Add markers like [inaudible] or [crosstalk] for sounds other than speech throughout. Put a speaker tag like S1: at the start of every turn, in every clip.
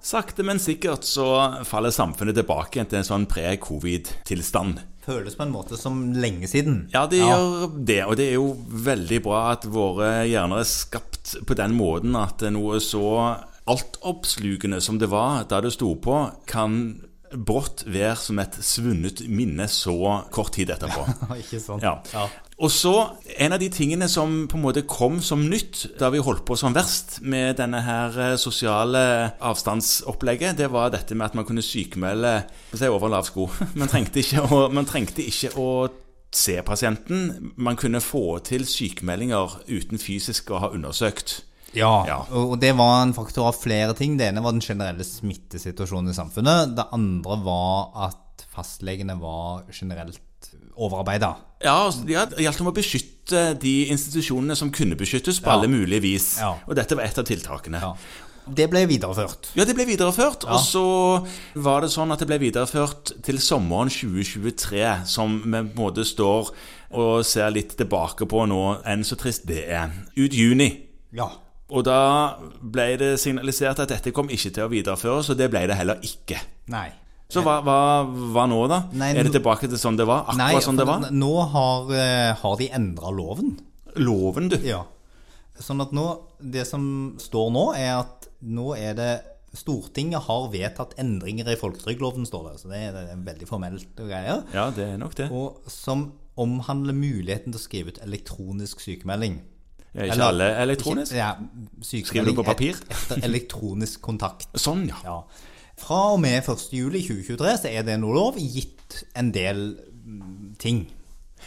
S1: Sakte, men sikkert så faller samfunnet tilbake igjen til en sånn pre-covid-tilstand.
S2: Føles på en måte som lenge siden.
S1: Ja, det gjør det, og det er jo veldig bra at våre hjerner er skapt på den måten at noe så altoppslukende som det var da det sto på, kan brått være som et svunnet minne så kort tid etterpå.
S2: [laughs] Ikke sant?
S1: Ja. Og så, en av de tingene som på en måte kom som nytt da vi holdt på som verst med denne her eh, sosiale avstandsopplegget, det var dette med at man kunne sykemelde skal vi si, over lav sko. [laughs] Man trengte ikke å, man trengte ikke å se pasienten. Man kunne få til sykemeldinger uten fysisk å ha undersøkt.
S2: Ja,
S1: Ja.
S2: og og det var en faktor av flere ting. Det ene var den generelle smittesituasjonen i samfunnet. Det andre var at fastlegene var generelt overarbeida.
S1: Ja, altså, ja, det gjaldt om å beskytte de institusjonene som kunne beskyttes på
S2: Ja.
S1: alle mulige vis.
S2: Ja.
S1: Og dette var et av tiltakene.
S2: Ja. Det ble videreført.
S1: Ja, det ble videreført, og så var det sånn at det ble videreført til sommeren 2023, som vi på en måte står og ser litt tilbake på nå, enn så trist det er. Ut juni.
S2: Ja.
S1: Og da ble det signalisert at dette kom ikke til å videreføres, og det ble det heller ikke.
S2: Nei.
S1: Så hva, hva, hva nå, da?
S2: Nei,
S1: er det
S2: nå-
S1: tilbake til sånn det var?
S2: Nei,
S1: Akkurat sånn
S2: for
S1: det var?
S2: Nå har, eh, har de endra loven.
S1: Loven, du.
S2: Ja. Sånn at nå, det som står nå, er at nå er det Stortinget har vedtatt endringer i folketrygdloven, står det. Så det er, det er veldig formelt og greier.
S1: Ja, det er nok det.
S2: Og som omhandler muligheten til å skrive ut elektronisk sykemelding.
S1: Ja, ikke
S2: Eller-
S1: alle elektronisk?
S2: Ikke, ja, sykemelding
S1: Skriver du på papir?
S2: et- Etter elektronisk kontakt.
S1: Sånn, ja.
S2: Ja. Fra og med 1. juli 2023 så er det noe lov, gitt en del mm, ting.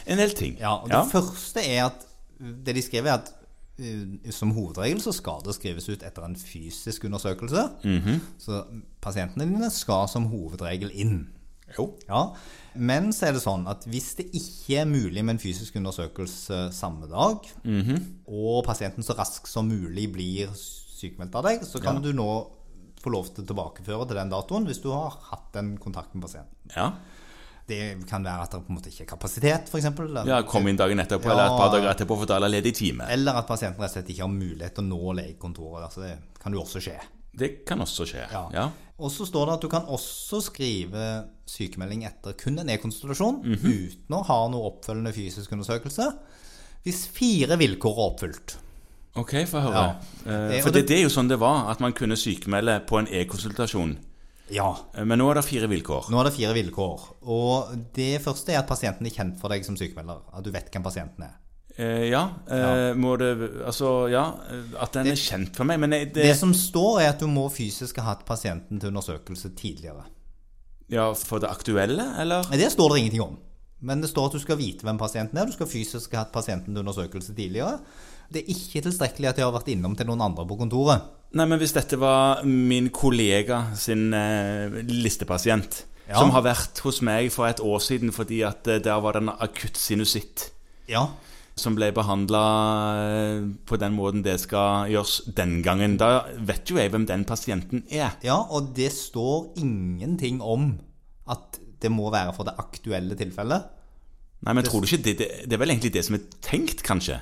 S1: En del ting.
S2: Ja, og Det første er at uh, det de skriver, er at uh, som hovedregel så skal det skrives ut etter en fysisk undersøkelse.
S1: Mhm.
S2: Så pasientene dine skal som hovedregel inn.
S1: Jo.
S2: Ja, Men så er det sånn at hvis det ikke er mulig med en fysisk undersøkelse samme dag,
S1: Mhm.
S2: og pasienten så raskt som mulig blir sykemeldt av deg, så kan du nå få lov til å tilbakeføre til den datoen hvis du har hatt en kontakt med pasienten.
S1: Ja.
S2: Det kan være at det på en måte ikke er kapasitet, f.eks.
S1: ja, kom inn dagen etterpå,
S2: Ja.
S1: eller et par dager etterpå, for da er det ledig time.
S2: Eller at pasienten rett og slett ikke har mulighet til å nå legekontoret. Altså det kan jo også skje.
S1: Det kan også skje. Ja.
S2: Og så står det at du kan også skrive sykemelding etter kun en e-konsultasjon
S1: Mhm.
S2: uten å ha noe oppfølgende fysisk undersøkelse hvis fire vilkår er oppfylt.
S1: Ok, få høre.
S2: Ja.
S1: Eh,
S2: Eh,
S1: For
S2: og
S1: det,
S2: det-
S1: det er jo sånn det var, at man kunne sykemelde på en e-konsultasjon.
S2: Ja.
S1: Eh, Men nå er det fire vilkår.
S2: Nå er det fire vilkår. Og det første er at pasienten er kjent for deg som sykemelder. At du vet hvem pasienten er.
S1: Eh, ja, eh, må det Altså, ja. eh, At den er kjent for meg, men jeg- det,
S2: Det som står, er at du må fysisk ha hatt pasienten til undersøkelse tidligere.
S1: Ja, for det aktuelle, eller?
S2: Nei, Det står det ingenting om. Men det står at du skal vite hvem pasienten er. Du skal fysisk ha hatt pasienten til undersøkelse tidligere. Det er ikke tilstrekkelig at de har vært innom til noen andre på kontoret.
S1: Nei, men hvis dette var min kollega sin eh, listepasient,
S2: Ja.
S1: som har vært hos meg for et år siden fordi at eh, der var det en akutt sinusitt.
S2: Ja.
S1: som ble behandla på den måten det skal gjøres den gangen. Da vet jo jeg hvem den pasienten er.
S2: ja, og det står ingenting om at det må være for det aktuelle tilfellet.
S1: Nei, men tror du ikke det, det, det er vel egentlig det som er tenkt, kanskje?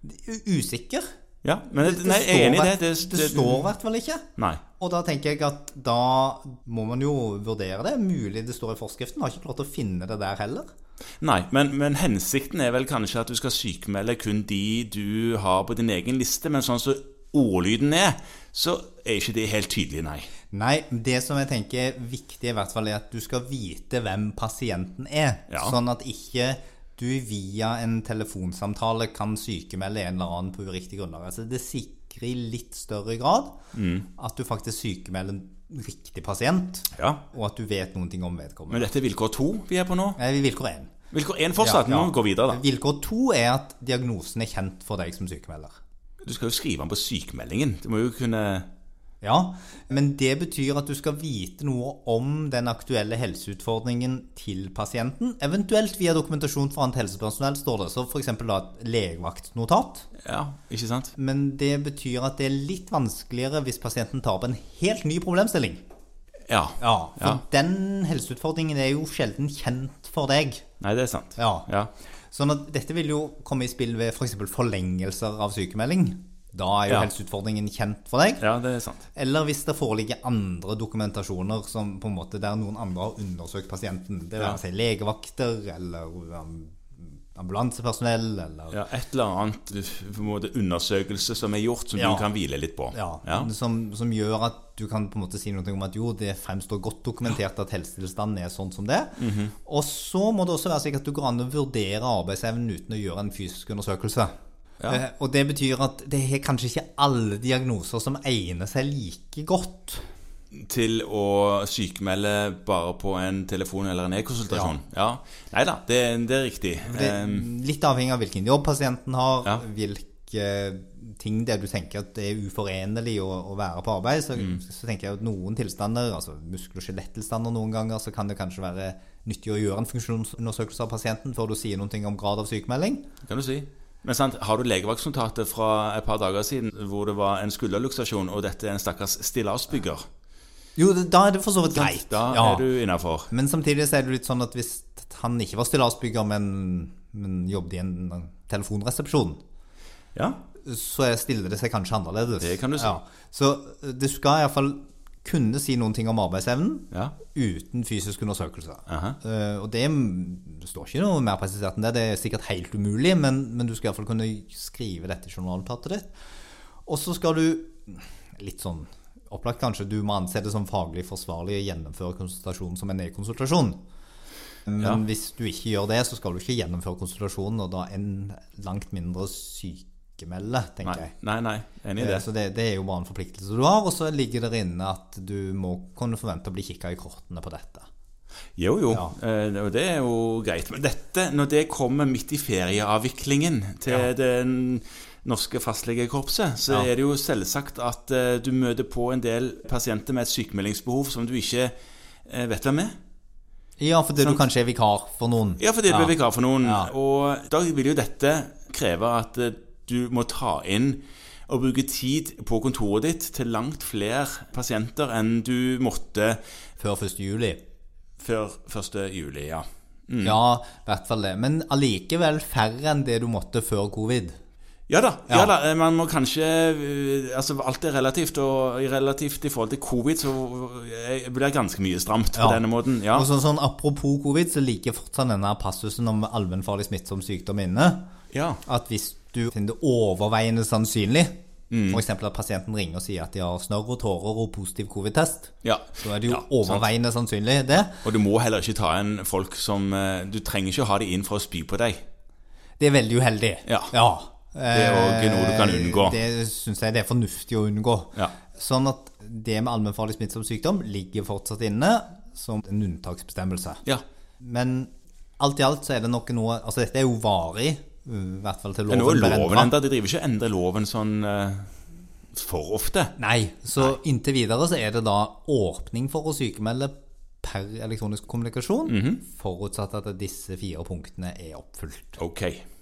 S2: U- Usikker.
S1: Ja, men
S2: Det
S1: nei, jeg er enig i det.
S2: står- det står i hvert fall ikke.
S1: Nei.
S2: Og da tenker jeg at da må man jo vurdere det. Mulig det står i forskriften. Har ikke klart å finne det der heller.
S1: nei men, men hensikten er vel kanskje at du skal sykemelde kun de du har på din egen liste, men sånn som ordlyden er, så er ikke det helt tydelig, nei.
S2: Nei, det som jeg tenker er viktig i hvert fall er at du skal vite hvem pasienten er.
S1: Ja.
S2: Sånn at ikke du via en telefonsamtale kan sykemelde en eller annen på uriktig grunnlag. Altså det sikrer i litt større grad at du faktisk sykemelder en riktig pasient,
S1: Ja.
S2: og at du vet noen ting om vedkommende.
S1: Men dette er vilkår to vi er på nå.
S2: Nei, vilkår én.
S1: Vilkår én fortsatt.
S2: Ja, ja.
S1: Nå går vi videre, da.
S2: Vilkår to er at diagnosen er kjent for deg som sykemelder.
S1: Du skal jo skrive den på sykemeldingen. Du må jo kunne
S2: Ja, men det betyr at du skal vite noe om den aktuelle helseutfordringen til pasienten, eventuelt via dokumentasjon fra annet helsepersonell, står det. Så f.eks. da et legevaktnotat.
S1: Ja, ikke sant?
S2: Men det betyr at det er litt vanskeligere hvis pasienten tar opp en helt ny problemstilling.
S1: Ja.
S2: Ja, For
S1: Ja.
S2: den helseutfordringen er jo sjelden kjent for deg.
S1: Nei, det er sant.
S2: Ja.
S1: Ja.
S2: Sånn at dette vil jo komme i spill ved f.eks. For forlengelser av sykemelding. Da er jo
S1: Ja.
S2: helseutfordringen kjent for deg.
S1: Ja, det er sant.
S2: Eller hvis det foreligger andre dokumentasjoner som på en måte der noen andre har undersøkt pasienten. Det
S1: Ja.
S2: være seg legevakter eller um, ambulansepersonell eller
S1: Ja, et eller annet uh, på en måte, undersøkelse som er gjort, som
S2: Ja.
S1: du kan hvile litt på.
S2: Ja,
S1: Ja.
S2: Som, som gjør at du kan på en måte si noe om at jo, det fremstår godt dokumentert at helsetilstanden er sånn som det.
S1: Mhm.
S2: Og så må det også være slik at du går an å vurdere arbeidsevnen uten å gjøre en fysisk undersøkelse.
S1: Ja.
S2: Eh, og det betyr at det er kanskje ikke alle diagnoser som egner seg like godt.
S1: Til å sykmelde bare på en telefon eller en e-konsultasjon. Ja. Nei da, det, det er riktig.
S2: Det,
S1: Eh,
S2: litt avhengig av hvilken jobb pasienten har,
S1: Ja.
S2: hvilke ting det er du tenker at det er uforenlig å, å være på arbeid, så, så tenker jeg at noen tilstander, altså muskel- og skjelettilstander noen ganger, så kan det kanskje være nyttig å gjøre en funksjonsundersøkelse av pasienten før du sier noen ting om grad av sykemelding.
S1: kan du si. Men sant, Har du legevaktnotatet fra et par dager siden hvor det var en skulderluksasjon, og dette er en stakkars stillasbygger?
S2: Jo, det- da er det for så vidt greit.
S1: Da
S2: Ja.
S1: er du innafor.
S2: Men samtidig så er det litt sånn at hvis han ikke var stillasbygger, men, men jobbet i en telefonresepsjon,
S1: Ja.
S2: så stiller det seg kanskje annerledes.
S1: Det kan du si.
S2: Ja. Så eh, du skal iallfall kunne si noen ting om arbeidsevnen
S1: ja.
S2: uten fysisk undersøkelse.
S1: Aha.
S2: Eh, og det mm, står ikke noe mer presisert enn det. Det er sikkert helt umulig, men, men du skal iallfall kunne skrive dette i journalnotatet ditt. Og så skal du, litt sånn opplagt kanskje, du må anse det som faglig forsvarlig å gjennomføre konsultasjonen som en e-konsultasjon. Men
S1: Ja.
S2: hvis du ikke gjør det, så skal du ikke gjennomføre konsultasjonen, og da en langt mindre sykemelde, tenker
S1: Nei,
S2: jeg.
S1: nei, nei. enig i
S2: Eh,
S1: det.
S2: Så det, det er jo bare en forpliktelse du har, og så ligger det inne at du må kunne forvente å bli kikka i kortene på dette.
S1: Jo, jo.
S2: Ja.
S1: Eh, Og det er jo greit. Men dette, når det kommer midt i ferieavviklingen til
S2: Ja.
S1: det norske fastlegekorpset, så
S2: Ja.
S1: er det jo selvsagt at eh, du møter på en del pasienter med et sykemeldingsbehov som du ikke eh, vet hvem er.
S2: Ja, fordi du kanskje er vikar for noen.
S1: Ja, fordi du er vikar for noen.
S2: Ja.
S1: Og da vil jo dette kreve at eh, du må ta inn og bruke tid på kontoret ditt til langt flere pasienter enn du måtte
S2: Før 1. juli.
S1: før 1. juli, ja. Mm.
S2: Ja, i hvert fall det. Men allikevel færre enn det du måtte før covid.
S1: Ja da. ja
S2: Ja.
S1: da, eh, Man må kanskje eh, altså Alt er relativt, og i relativt i forhold til covid så eh, blir det ganske mye stramt på
S2: Ja.
S1: denne måten. Ja.
S2: Og sånn, sånn Apropos covid, så liker fortsatt denne passusen om allmennfarlig smittsom sykdom inne.
S1: ja.
S2: At hvis du finner det overveiende sannsynlig,
S1: Mm.
S2: for f.eks. at pasienten ringer og sier at de har snørr og tårer og positiv covid-test,
S1: ja.
S2: så er det jo
S1: Ja, sant.
S2: overveiende sannsynlig det.
S1: Og du må heller ikke ta inn folk som eh, Du trenger ikke ha de inn for å spy på deg.
S2: Det er veldig uheldig.
S1: Ja.
S2: Det
S1: er også noe du kan unngå.
S2: Det syns jeg det er fornuftig å unngå.
S1: Ja.
S2: Sånn at det med allmennfarlig smittsom sykdom ligger fortsatt inne som en unntaksbestemmelse.
S1: Ja.
S2: Men alt i alt så er det nok noe Altså dette er jo varig, i hvert fall til
S1: Men nå
S2: loven
S1: er
S2: ble
S1: loven
S2: endret.
S1: endret. De driver ikke og endrer loven sånn eh, for ofte.
S2: Nei, så inntil videre så er det da åpning for å sykemelde per
S1: Mhm.
S2: elektronisk kommunikasjon, forutsatt at disse fire punktene er oppfylt.
S1: Ok.